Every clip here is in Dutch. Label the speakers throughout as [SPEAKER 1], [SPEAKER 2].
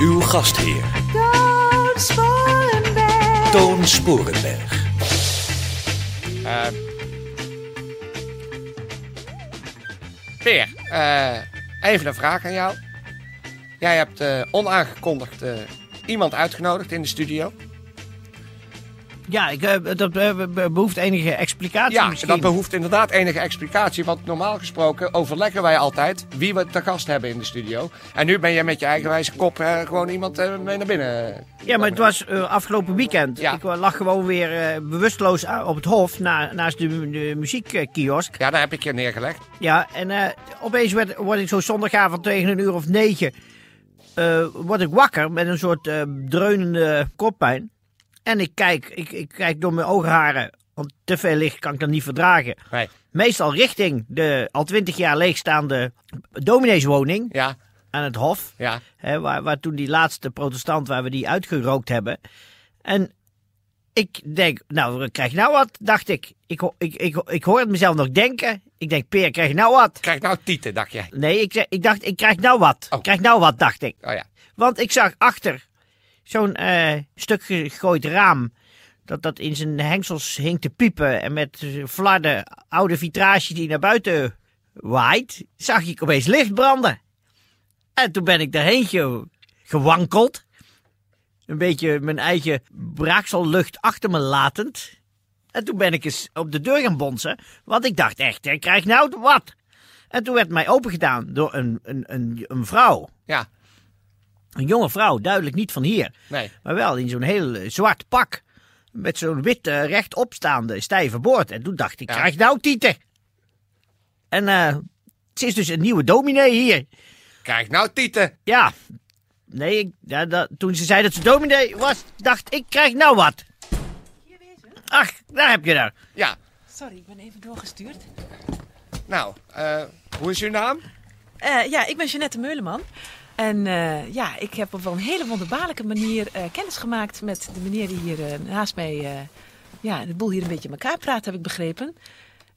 [SPEAKER 1] Uw gastheer
[SPEAKER 2] Toon Sporenberg.
[SPEAKER 1] Toon Sporenberg.
[SPEAKER 3] Eh Peer, eh, even een vraag aan jou. Jij hebt eh, onaangekondigd eh, iemand uitgenodigd in de studio.
[SPEAKER 4] Ja, ik, eh, dat eh, be- be- behoeft enige explicatie
[SPEAKER 3] Ja,
[SPEAKER 4] misschien.
[SPEAKER 3] dat behoeft inderdaad enige explicatie. Want normaal gesproken overleggen wij altijd wie we te gast hebben in de studio. En nu ben jij met je eigenwijze kop eh, gewoon iemand eh, mee naar binnen.
[SPEAKER 4] ja, maar het was eh, afgelopen weekend.
[SPEAKER 3] Ja.
[SPEAKER 4] Ik eh, lag gewoon weer eh, bewusteloos a- op het hof na, naast de, de muziekkiosk.
[SPEAKER 3] Ja, daar heb ik je neergelegd.
[SPEAKER 4] Ja, en eh, opeens werd, word ik zo zondagavond tegen een uur of negen... eh, word ik wakker met een soort eh, dreunende koppijn. En ik kijk, ik, ik kijk door mijn oogharen, want te veel licht kan ik dan niet verdragen.
[SPEAKER 3] Nee.
[SPEAKER 4] Meestal richting de al twintig jaar leegstaande domineeswoning
[SPEAKER 3] Ja,
[SPEAKER 4] aan het hof.
[SPEAKER 3] ja.
[SPEAKER 4] Hè, waar, waar toen die laatste protestant, waar we die uitgerookt hebben. En ik denk, nou, ik krijg nou wat, dacht ik. Ik, ho- ik, ik, ik hoor het mezelf nog denken. Ik denk, Peer, krijg je nou wat?
[SPEAKER 3] Krijg nou tieten, dacht jij.
[SPEAKER 4] Nee, ik, zeg- ik dacht, ik krijg nou wat.
[SPEAKER 3] Oh.
[SPEAKER 4] Ik Krijg nou wat, dacht ik.
[SPEAKER 3] Oh ja.
[SPEAKER 4] Want ik zag achter zo'n eh, stuk gegooid raam. Dat dat in zijn hengsels hing te piepen. En met eh, flarden oude vitrage die naar buiten waait. Zag ik opeens licht branden. En toen ben ik daarheen ge- gewankeld. Een beetje mijn eigen braaksellucht achter me latend. En toen ben ik eens op de deur gaan bonzen. Want ik dacht echt, ik krijg nou wat. En toen werd mij opengedaan door een, een, een, een vrouw.
[SPEAKER 3] Ja,
[SPEAKER 4] Een jonge vrouw, duidelijk niet van hier,
[SPEAKER 3] nee.
[SPEAKER 4] maar wel in zo'n heel eh, zwart pak. Met zo'n wit eh, rechtopstaande stijve boord. En toen dacht ik,
[SPEAKER 3] Ja.
[SPEAKER 4] krijg nou tieten. En eh, ze is dus een nieuwe dominee hier.
[SPEAKER 3] Krijg nou tieten.
[SPEAKER 4] Ja, nee, ik, ja, dat, toen ze zei dat ze dominee was, dacht ik, krijg nou wat. Ach, daar heb je daar.
[SPEAKER 3] Ja.
[SPEAKER 5] Sorry, ik ben even doorgestuurd.
[SPEAKER 3] Nou, eh, hoe is uw naam?
[SPEAKER 5] Eh, ja, ik ben Jeannette Meuleman. En eh, ja, ik heb op wel een hele wonderbaarlijke manier eh, kennis gemaakt met de meneer die hier eh, naast mij eh, ja, de boel hier een beetje in elkaar praat, heb ik begrepen.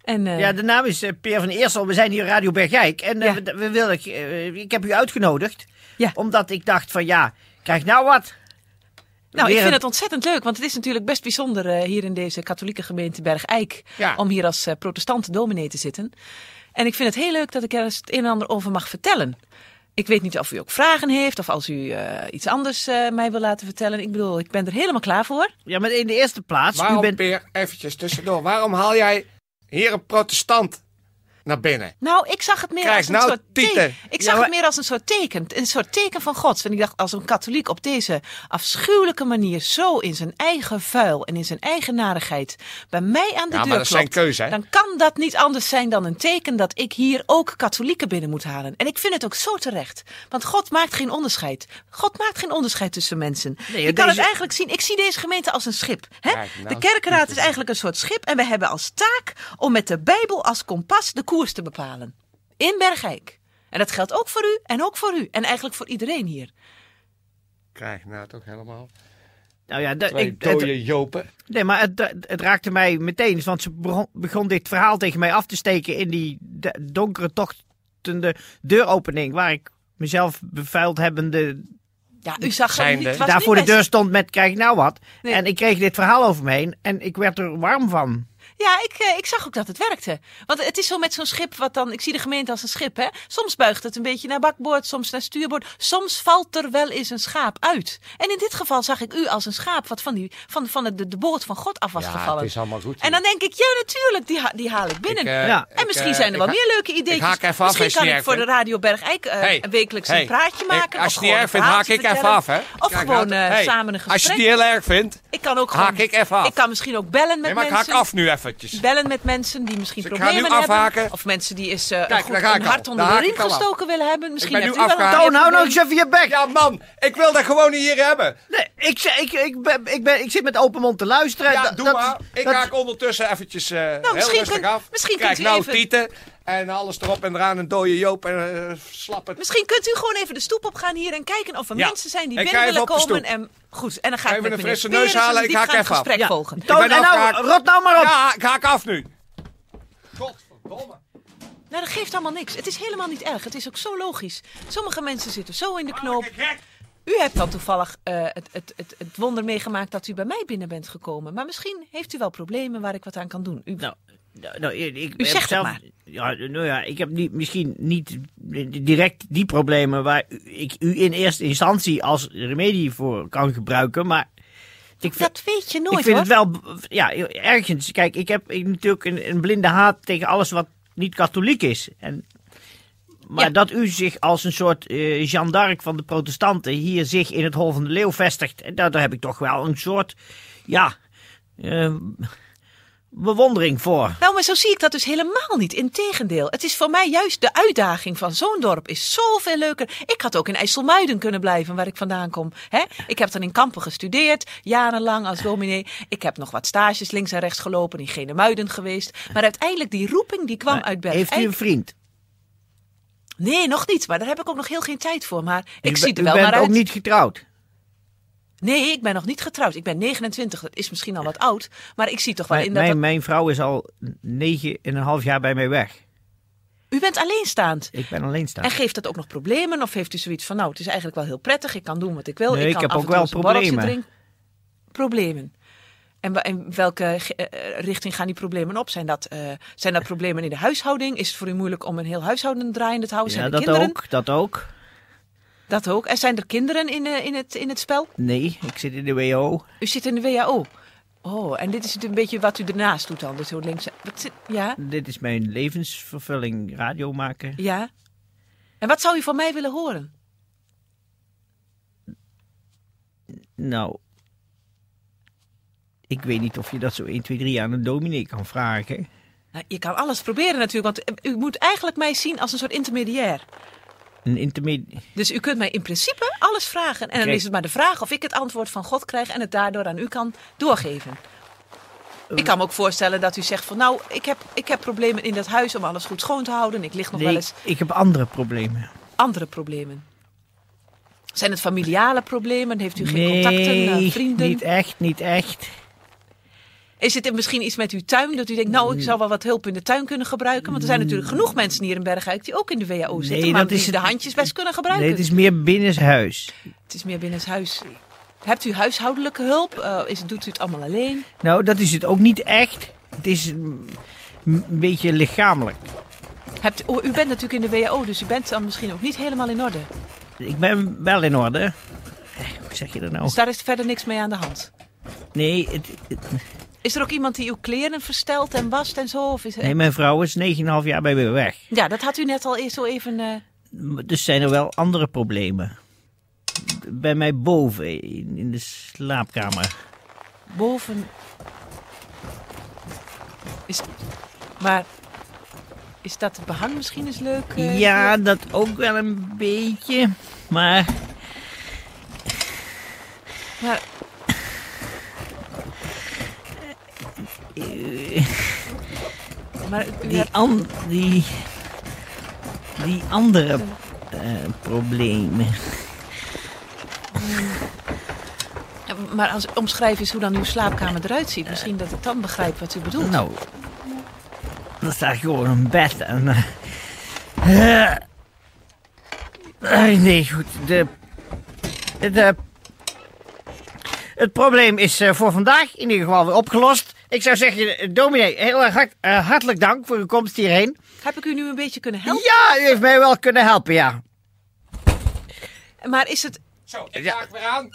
[SPEAKER 5] En eh,
[SPEAKER 4] Ja, de naam is eh, Peer van Eersel. We zijn hier in Radio Bergijk. En eh,
[SPEAKER 5] Ja.
[SPEAKER 4] we, we willen, eh, ik heb u uitgenodigd.
[SPEAKER 5] Ja.
[SPEAKER 4] Omdat ik dacht van, ja, krijg nou wat.
[SPEAKER 5] nou, ik
[SPEAKER 4] weer
[SPEAKER 5] vind
[SPEAKER 4] een-
[SPEAKER 5] het ontzettend leuk, want het is natuurlijk best bijzonder eh, hier in deze katholieke gemeente Bergijk
[SPEAKER 3] Ja.
[SPEAKER 5] om hier als eh, protestant dominee te zitten. En ik vind het heel leuk dat ik er eens het een en ander over mag vertellen. Ik weet niet of u ook vragen heeft of als u eh, iets anders eh, mij wil laten vertellen. Ik bedoel, ik ben er helemaal klaar voor.
[SPEAKER 4] Ja, maar in de eerste plaats,
[SPEAKER 5] Dus
[SPEAKER 4] u
[SPEAKER 3] Waarom,
[SPEAKER 4] bent...
[SPEAKER 3] Peer, eventjes tussendoor, waarom haal jij hier een protestant naar binnen?
[SPEAKER 5] Nou, ik zag het meer
[SPEAKER 3] Krijg
[SPEAKER 5] als een
[SPEAKER 3] nou
[SPEAKER 5] soort
[SPEAKER 3] tieten.
[SPEAKER 5] teken. Ik
[SPEAKER 4] Ja,
[SPEAKER 5] zag
[SPEAKER 4] maar-
[SPEAKER 5] het meer als een soort teken. Een soort teken van God. En ik dacht, als een katholiek op deze afschuwelijke manier zo in zijn eigen vuil en in zijn eigen narigheid bij mij aan de
[SPEAKER 3] Ja, maar
[SPEAKER 5] deur
[SPEAKER 3] dat is zijn
[SPEAKER 5] klopt,
[SPEAKER 3] keuze, hè?
[SPEAKER 5] dan kan dat niet anders zijn dan een teken dat ik hier ook katholieken binnen moet halen. En ik vind het ook zo terecht. Want God maakt geen onderscheid. God maakt geen onderscheid tussen mensen.
[SPEAKER 4] Nee,
[SPEAKER 5] Je kan het
[SPEAKER 4] deze-
[SPEAKER 5] eigenlijk zien. Ik zie deze gemeente als een schip. Hè?
[SPEAKER 3] Kijk nou.
[SPEAKER 5] De kerkenraad is eigenlijk een soort schip. En we hebben als taak om met de Bijbel als kompas de koers te bepalen. In Bergijk. En dat geldt ook voor u en ook voor u. En eigenlijk voor iedereen hier.
[SPEAKER 3] Krijg nou toch helemaal
[SPEAKER 4] Nou ja, dat-
[SPEAKER 3] twee
[SPEAKER 4] ik, het-
[SPEAKER 3] dode jopen.
[SPEAKER 4] nee, maar het, het- het raakte mij meteen, want ze begon, begon dit verhaal tegen mij af te steken in die de- donkere, tochtende deuropening, waar ik mezelf bevuild hebbende
[SPEAKER 5] Ja, u zag het
[SPEAKER 3] Zijnde.
[SPEAKER 5] niet. het was
[SPEAKER 4] daar
[SPEAKER 5] niet
[SPEAKER 4] voor de
[SPEAKER 5] best.
[SPEAKER 4] deur stond met krijg ik nou wat.
[SPEAKER 5] Nee.
[SPEAKER 4] En ik kreeg dit verhaal over me heen en ik werd er warm van.
[SPEAKER 5] Ja, ik, eh, ik zag ook dat het werkte. Want het is zo met zo'n schip wat dan... Ik zie de gemeente als een schip, hè. Soms buigt het een beetje naar bakboord, soms naar stuurboord. Soms valt er wel eens een schaap uit. En in dit geval zag ik u als een schaap wat van, die, van, van de, de boord van God af was
[SPEAKER 3] ja,
[SPEAKER 5] gevallen.
[SPEAKER 3] het is allemaal goed. eh,
[SPEAKER 5] En dan denk ik, ja natuurlijk, die, ha- die haal ik binnen.
[SPEAKER 4] Ja.
[SPEAKER 5] en misschien zijn er wel meer leuke ideetjes.
[SPEAKER 3] haak even af,
[SPEAKER 5] misschien
[SPEAKER 3] als
[SPEAKER 5] kan
[SPEAKER 3] je
[SPEAKER 5] ik
[SPEAKER 3] niet
[SPEAKER 5] voor
[SPEAKER 3] erg
[SPEAKER 5] de Radio Bergijk eh,
[SPEAKER 3] Hey,
[SPEAKER 5] wekelijks
[SPEAKER 3] hey,
[SPEAKER 5] een praatje maken.
[SPEAKER 3] als
[SPEAKER 5] of
[SPEAKER 3] je het niet
[SPEAKER 5] gewoon een
[SPEAKER 3] erg vindt, haak
[SPEAKER 5] verhaaltje
[SPEAKER 3] ik even
[SPEAKER 5] vertellen.
[SPEAKER 3] af, hè?
[SPEAKER 5] Of
[SPEAKER 3] Kijk,
[SPEAKER 5] gewoon
[SPEAKER 3] nou,
[SPEAKER 5] eh,
[SPEAKER 3] hey,
[SPEAKER 5] samen een gesprek.
[SPEAKER 3] Als je het niet heel erg vindt,
[SPEAKER 5] Ik kan ook
[SPEAKER 3] haak
[SPEAKER 5] gewoon-
[SPEAKER 3] ik even af.
[SPEAKER 5] Ik kan misschien ook bellen met
[SPEAKER 3] nee, maar ik
[SPEAKER 5] mensen.
[SPEAKER 3] haak af nu even eventjes.
[SPEAKER 5] Bellen met mensen die misschien
[SPEAKER 3] Dus ik ga
[SPEAKER 5] problemen
[SPEAKER 3] nu
[SPEAKER 5] hebben.
[SPEAKER 3] afhaken.
[SPEAKER 5] Of mensen die eens eh,
[SPEAKER 3] Kijk,
[SPEAKER 5] goed
[SPEAKER 3] daar ga
[SPEAKER 5] een
[SPEAKER 3] ik al.
[SPEAKER 5] hart onder
[SPEAKER 3] Daar
[SPEAKER 5] de
[SPEAKER 3] haak
[SPEAKER 5] riem
[SPEAKER 3] ik al af.
[SPEAKER 5] gestoken willen hebben. Misschien
[SPEAKER 3] ben
[SPEAKER 5] hebt
[SPEAKER 3] nu
[SPEAKER 5] u wel een
[SPEAKER 3] afgehaakt.
[SPEAKER 4] Toon, hou nou
[SPEAKER 5] probleem.
[SPEAKER 4] eens even je bek.
[SPEAKER 3] Ja, man, ik wil dat gewoon niet hier hebben.
[SPEAKER 4] Nee, ik, zeg- ik, ik, ben, ik, ben, ik zit met open mond te luisteren.
[SPEAKER 3] Ja,
[SPEAKER 4] Dat-
[SPEAKER 3] doe
[SPEAKER 4] dat-
[SPEAKER 3] maar. Ik
[SPEAKER 4] dat-
[SPEAKER 3] haak ondertussen eventjes eh, heel
[SPEAKER 5] Nou, misschien
[SPEAKER 3] rustig
[SPEAKER 5] kunt-
[SPEAKER 3] af.
[SPEAKER 5] misschien
[SPEAKER 3] Kijk,
[SPEAKER 5] kunt u
[SPEAKER 3] nou
[SPEAKER 5] even-
[SPEAKER 3] tieten en alles erop en eraan. Een dode Joop en eh, slappe...
[SPEAKER 5] Misschien kunt u gewoon even de stoep op gaan hier en kijken of er
[SPEAKER 3] Ja.
[SPEAKER 5] mensen zijn die
[SPEAKER 3] Ik ga
[SPEAKER 5] binnen willen
[SPEAKER 3] even op de
[SPEAKER 5] komen. En, goed, en dan ga
[SPEAKER 3] Even
[SPEAKER 5] ik met
[SPEAKER 3] een
[SPEAKER 5] meneer
[SPEAKER 3] frisse neus
[SPEAKER 5] Peres
[SPEAKER 3] halen,
[SPEAKER 5] een
[SPEAKER 3] ik haak
[SPEAKER 5] diepgaand
[SPEAKER 3] even af.
[SPEAKER 5] gesprek
[SPEAKER 4] Ja,
[SPEAKER 5] volgen.
[SPEAKER 4] Toon,
[SPEAKER 3] Ik ben
[SPEAKER 4] en nou,
[SPEAKER 3] afgehaakt.
[SPEAKER 4] rot nou maar op.
[SPEAKER 3] Ja, ik haak af nu. Godverdomme.
[SPEAKER 5] Nou, dat geeft allemaal niks. Het is helemaal niet erg. Het is ook zo logisch. Sommige mensen zitten zo in de knoop. U hebt dan toevallig eh, het, het, het, het wonder meegemaakt dat u bij mij binnen bent gekomen. Maar misschien heeft u wel problemen waar ik wat aan kan doen. U,
[SPEAKER 4] Nou, nou, nou, ik, ik
[SPEAKER 5] U
[SPEAKER 4] heb
[SPEAKER 5] zegt het
[SPEAKER 4] zelf,
[SPEAKER 5] maar.
[SPEAKER 4] Ja, nou ja, ik heb niet, misschien niet direct die problemen waar ik u in eerste instantie als remedie voor kan gebruiken. Maar ik, vind-
[SPEAKER 5] dat weet je nooit
[SPEAKER 4] ik vind
[SPEAKER 5] hoor.
[SPEAKER 4] het wel, b- ja, ergens. Kijk, ik heb ik natuurlijk een, een blinde haat tegen alles wat niet katholiek is. En, maar
[SPEAKER 5] Ja.
[SPEAKER 4] dat u zich als een soort eh Jeanne d'Arc van de protestanten hier zich in het Hol van de Leeuw vestigt. En daar, daar heb ik toch wel een soort, ja, eh, bewondering voor.
[SPEAKER 5] Nou, maar zo zie ik dat dus helemaal niet. Integendeel, het is voor mij juist de uitdaging van zo'n dorp is zoveel leuker. Ik had ook in IJsselmuiden kunnen blijven, waar ik vandaan kom. Hè? Ik heb dan in Kampen gestudeerd, jarenlang als dominee. Ik heb nog wat stages links en rechts gelopen, in Genemuiden geweest. Maar uiteindelijk, die roeping die kwam uit Berg.
[SPEAKER 4] Eh, Heeft u een vriend?
[SPEAKER 5] Nee, nog niet, maar daar heb ik ook nog heel geen tijd voor. Maar ik
[SPEAKER 4] u,
[SPEAKER 5] zie
[SPEAKER 4] be-
[SPEAKER 5] er wel
[SPEAKER 4] U bent
[SPEAKER 5] naar uit.
[SPEAKER 4] ook niet getrouwd.
[SPEAKER 5] Nee, ik ben nog niet getrouwd. Ik ben 29, dat is misschien al wat oud. Maar ik zie toch wel
[SPEAKER 4] Mijn,
[SPEAKER 5] in dat...
[SPEAKER 4] mijn, mijn vrouw is al negen en een half jaar bij mij weg.
[SPEAKER 5] U bent alleenstaand.
[SPEAKER 4] Ik ben alleenstaand.
[SPEAKER 5] En geeft dat ook nog problemen? Of heeft u zoiets van, nou, het is eigenlijk wel heel prettig. Ik kan doen wat ik wil.
[SPEAKER 4] Nee,
[SPEAKER 5] ik,
[SPEAKER 4] ik
[SPEAKER 5] kan
[SPEAKER 4] heb
[SPEAKER 5] af en
[SPEAKER 4] ook
[SPEAKER 5] toe
[SPEAKER 4] wel
[SPEAKER 5] eens een borreltje
[SPEAKER 4] problemen.
[SPEAKER 5] drinken. Problemen. En wa- in welke ge- eh, richting gaan die problemen op? Zijn dat, eh, zijn dat problemen in de huishouding? Is het voor u moeilijk om een heel huishouden draaiende te houden?
[SPEAKER 4] ja,
[SPEAKER 5] zijn er
[SPEAKER 4] dat
[SPEAKER 5] kinderen?
[SPEAKER 4] ook, dat ook.
[SPEAKER 5] Dat ook. En zijn er kinderen in, eh, in, het, in het spel?
[SPEAKER 4] Nee, ik zit in de WO.
[SPEAKER 5] U zit in de WHO. Oh, en dit is het een beetje wat u ernaast doet dan. Dus zo links. Wat zit- ja,
[SPEAKER 4] Dit is mijn levensvervulling, radio maken.
[SPEAKER 5] ja. En wat zou u van mij willen horen?
[SPEAKER 4] Nou, ik weet niet of je dat zo 1, 2, 3 aan een dominee kan vragen.
[SPEAKER 5] Nou, je kan alles proberen natuurlijk, want eh, u moet eigenlijk mij zien als een soort intermediair.
[SPEAKER 4] Een intermedie...
[SPEAKER 5] Dus u kunt mij in principe alles vragen. En dan
[SPEAKER 4] Oké.
[SPEAKER 5] is het maar de vraag of ik het antwoord van God krijg en het daardoor aan u kan doorgeven.
[SPEAKER 4] Eh.
[SPEAKER 5] Ik kan me ook voorstellen dat u zegt van nou, ik heb, ik heb problemen in dat huis om alles goed schoon te houden. Ik lig nog wel
[SPEAKER 4] Nee,
[SPEAKER 5] eens
[SPEAKER 4] ik heb andere problemen.
[SPEAKER 5] andere problemen. Zijn het familiale problemen? Heeft u geen
[SPEAKER 4] nee,
[SPEAKER 5] contacten, eh, vrienden?
[SPEAKER 4] niet echt, niet echt.
[SPEAKER 5] Is het misschien iets met uw tuin dat u denkt, nou,
[SPEAKER 4] Mm.
[SPEAKER 5] ik zou wel wat hulp in de tuin kunnen gebruiken? Want er zijn natuurlijk genoeg mensen hier in Bergijk die ook in de WHO zitten,
[SPEAKER 4] Nee,
[SPEAKER 5] maar
[SPEAKER 4] dat
[SPEAKER 5] die
[SPEAKER 4] is het-
[SPEAKER 5] de handjes best kunnen gebruiken.
[SPEAKER 4] Nee, het is meer binnenshuis.
[SPEAKER 5] Het is meer binnen het huis. Hebt u huishoudelijke hulp? Eh, is, doet u het allemaal alleen?
[SPEAKER 4] Nou, dat is het ook niet echt. Het is een een beetje lichamelijk.
[SPEAKER 5] Hebt, oh, u bent natuurlijk in de WHO, dus u bent dan misschien ook niet helemaal in orde.
[SPEAKER 4] Ik ben wel in orde. Eh, Hoe zeg je dat nou?
[SPEAKER 5] Dus daar is verder niks mee aan de hand.
[SPEAKER 4] Nee, het, het-
[SPEAKER 5] Is er ook iemand die uw kleren verstelt en wast en zo? Of is
[SPEAKER 4] nee, mijn vrouw is 9,5 jaar bij me weg.
[SPEAKER 5] Ja, dat had u net al eerst zo even. eh,
[SPEAKER 4] Dus zijn er wel andere problemen. Bij mij boven, in, in de slaapkamer.
[SPEAKER 5] boven. Is, maar is dat het behang misschien eens leuk? eh?
[SPEAKER 4] Ja, dat ook wel een beetje. Maar
[SPEAKER 5] Maar,
[SPEAKER 4] eh,
[SPEAKER 5] maar u
[SPEAKER 4] die,
[SPEAKER 5] hebt-
[SPEAKER 4] an, die, die andere eh, problemen.
[SPEAKER 5] maar als omschrijf eens hoe dan uw slaapkamer eruit ziet. Misschien dat ik dan begrijp wat u bedoelt.
[SPEAKER 4] Nou, dan staat gewoon een bed en. eh, eh, eh, nee, goed. De, de, het probleem is eh, voor vandaag in ieder geval weer opgelost. Ik zou zeggen, eh, dominee, heel erg hart- eh, hartelijk dank voor uw komst hierheen.
[SPEAKER 5] Heb ik u nu een beetje kunnen helpen?
[SPEAKER 4] Ja, u heeft mij wel kunnen helpen, ja.
[SPEAKER 5] Maar is het.
[SPEAKER 3] Zo, ik haak weer aan.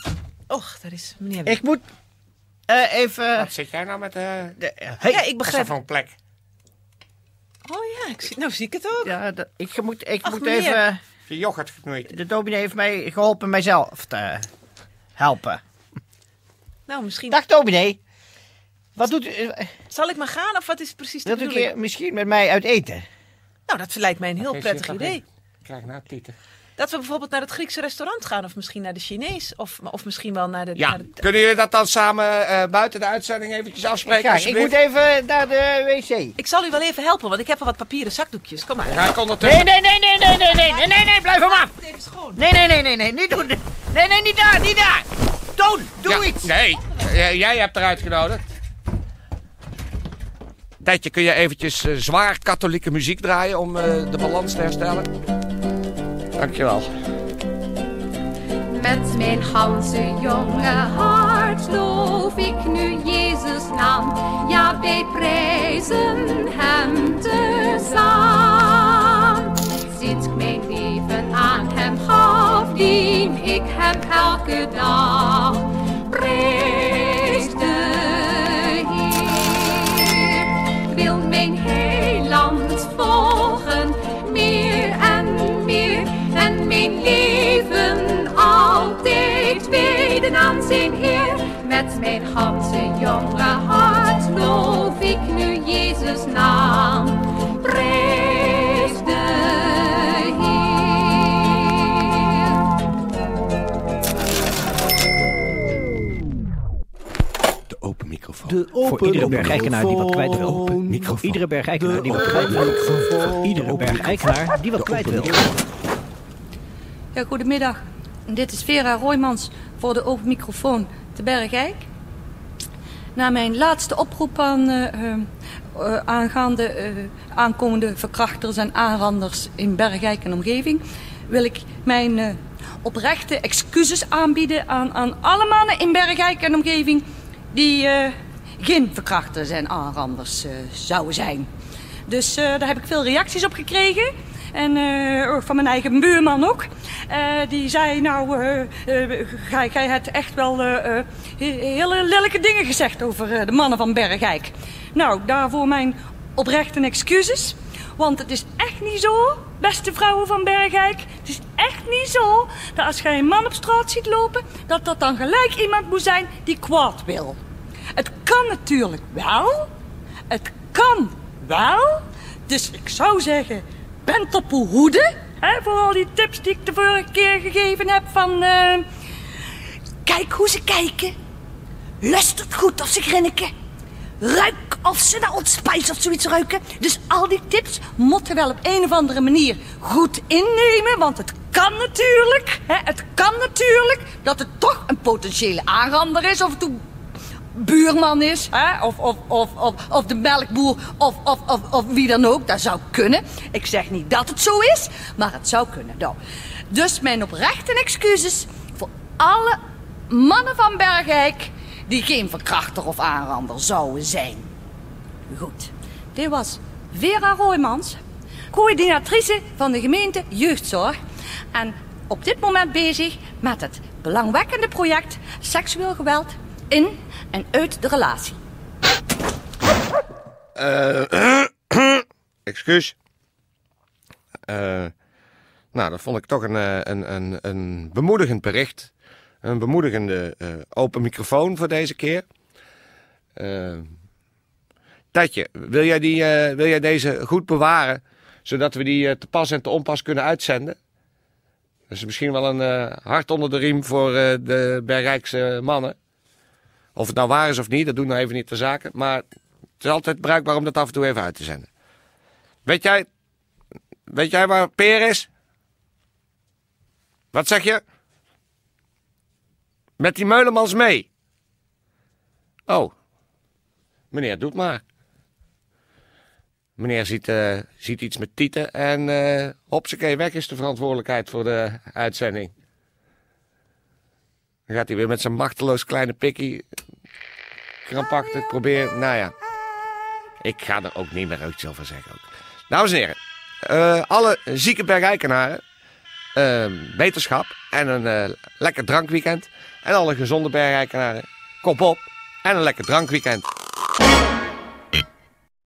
[SPEAKER 5] Och, daar is meneer. weer.
[SPEAKER 4] Ik moet eh, even.
[SPEAKER 3] Wat zit jij nou met eh
[SPEAKER 4] de- eh, hey.
[SPEAKER 5] ja, ik
[SPEAKER 3] Wat is dat
[SPEAKER 5] begrijp.
[SPEAKER 3] voor een plek?
[SPEAKER 5] Oh ja, ik zie, nou zie ik het ook.
[SPEAKER 4] Ja, dat- ik moet, ik
[SPEAKER 5] Ach,
[SPEAKER 4] moet
[SPEAKER 5] meneer.
[SPEAKER 4] even.
[SPEAKER 3] Je yoghurt geknoeid.
[SPEAKER 4] De dominee heeft mij geholpen mijzelf te helpen.
[SPEAKER 5] Nou, misschien.
[SPEAKER 4] Dag dominee. Wat doet u? eh,
[SPEAKER 5] Zal ik maar gaan of wat is precies de
[SPEAKER 4] Wilt u een
[SPEAKER 5] bedoeling?
[SPEAKER 4] keer misschien met mij uit eten?
[SPEAKER 5] Nou, dat lijkt mij een heel
[SPEAKER 3] Geef je
[SPEAKER 5] prettig
[SPEAKER 3] dat
[SPEAKER 5] idee.
[SPEAKER 3] in. Krijg nou tieten.
[SPEAKER 5] Dat we bijvoorbeeld naar het Griekse restaurant gaan of misschien naar de Chinees of, of misschien wel naar de...
[SPEAKER 3] Ja,
[SPEAKER 5] naar de-
[SPEAKER 3] kunnen jullie dat dan samen eh, buiten de uitzending eventjes afspreken?
[SPEAKER 4] Kijk, ik
[SPEAKER 3] alsjeblieft?
[SPEAKER 4] moet even naar de wc.
[SPEAKER 5] Ik zal u wel even helpen, want ik heb al wat papieren zakdoekjes. Kom maar.
[SPEAKER 3] Ga ik ondertussen...
[SPEAKER 4] Nee, nee, nee, nee, nee, nee, nee, nee, nee, nee, blijf hem af.
[SPEAKER 5] Maak het even schoon.
[SPEAKER 4] Nee, nee, nee, nee, nee, niet doen. Nee, nee, niet daar, niet daar. Toon, doe
[SPEAKER 3] Ja,
[SPEAKER 4] iets.
[SPEAKER 3] Nee, J- jij hebt eruit genodigd. Tijdje, kun je eventjes eh, zwaar katholieke muziek draaien om eh, de balans te herstellen? Dankjewel.
[SPEAKER 6] Met mijn ganse jonge hart loof ik nu Jezus naam. Ja, wij prijzen hem tezaam. Sinds ik mijn leven aan hem gaf, dien ik hem elke dag. Prijs de Heer. Ik wil mijn heiland volgen, meer en meer. En mijn leven altijd wijden aan zijn eer. Met mijn ganse jonge hart loof ik nu Jezus naam. Prijs de Heer.
[SPEAKER 1] De open microfoon.
[SPEAKER 4] Voor iedere bergijkenaar die wat kwijt wil.
[SPEAKER 1] open microfoon.
[SPEAKER 4] Voor iedere bergijkenaar die wat kwijt wil. Voor iedere bergijkenaar die wat kwijt wil.
[SPEAKER 7] Ja, goedemiddag. Dit is Vera Roymans voor de Open Microfoon te Bergijk. Na mijn laatste oproep aan, eh, eh, eh, aangaande eh, aankomende verkrachters en aanranders in Bergijk en omgeving... wil ik mijn eh, oprechte excuses aanbieden aan, aan alle mannen in Bergijk en omgeving... die eh, geen verkrachters en aanranders eh, zouden zijn. Dus eh, daar heb ik veel reacties op gekregen. En eh, ook van mijn eigen buurman ook. Eh, die zei, nou, eh, eh, gij, gij hebt echt wel eh, eh, he- hele lelijke dingen gezegd over eh, de mannen van Bergijk. Nou, daarvoor mijn oprechte excuses. Want het is echt niet zo, beste vrouwen van Bergijk. Het is echt niet zo dat als gij een man op straat ziet lopen... dat dat dan gelijk iemand moet zijn die kwaad wil. Het kan natuurlijk wel. Het kan wel. Dus ik zou zeggen, bent op uw hoede. Hè, voor al die tips die ik de vorige keer gegeven heb van... eh, kijk hoe ze kijken. Luistert goed of ze grinniken. Ruik of ze naar ontspijs of zoiets ruiken. Dus al die tips moeten wel op een of andere manier goed innemen. Want het kan natuurlijk, hè, het kan natuurlijk dat het toch een potentiële aanrander is. Of toe buurman is, hè? Of, of, of, of, of de melkboer, of, of, of, of wie dan ook. Dat zou kunnen. Ik zeg niet dat het zo is, maar het zou kunnen. Nou, dus mijn oprechte excuses voor alle mannen van Bergijk die geen verkrachter of aanrander zouden zijn. Goed, dit was Vera Roymans, coördinatrice van de gemeente Jeugdzorg. En op dit moment bezig met het belangwekkende project Seksueel geweld in en uit de relatie.
[SPEAKER 3] Excuus. Eh, nou, dat vond ik toch een, eh, een, een, een bemoedigend bericht. Een bemoedigende eh, open microfoon voor deze keer. Eh, Tijdje, wil jij, die, eh, wil jij deze goed bewaren? Zodat we die eh, te pas en te onpas kunnen uitzenden? Dat is misschien wel een eh hart onder de riem voor eh, de Bergrijkse mannen. Of het nou waar is of niet, dat doen nou even niet de zaken. Maar het is altijd bruikbaar om dat af en toe even uit te zenden. Weet jij, weet jij waar peer is? Wat zeg je? Met die meulemans mee. Oh, meneer doet maar. Meneer ziet, eh, ziet iets met tieten en eh hopsakee, weg is de verantwoordelijkheid voor de uitzending. Dan gaat hij weer met zijn machteloos kleine pikkie krampachtig proberen, nou ja. Ik ga er ook niet meer uit over zeggen. Ook. Dames en heren, eh, alle zieke bergijkenaren, eh, wetenschap en een eh, lekker drankweekend. En alle gezonde bergijkenaren, kop op en een lekker drankweekend.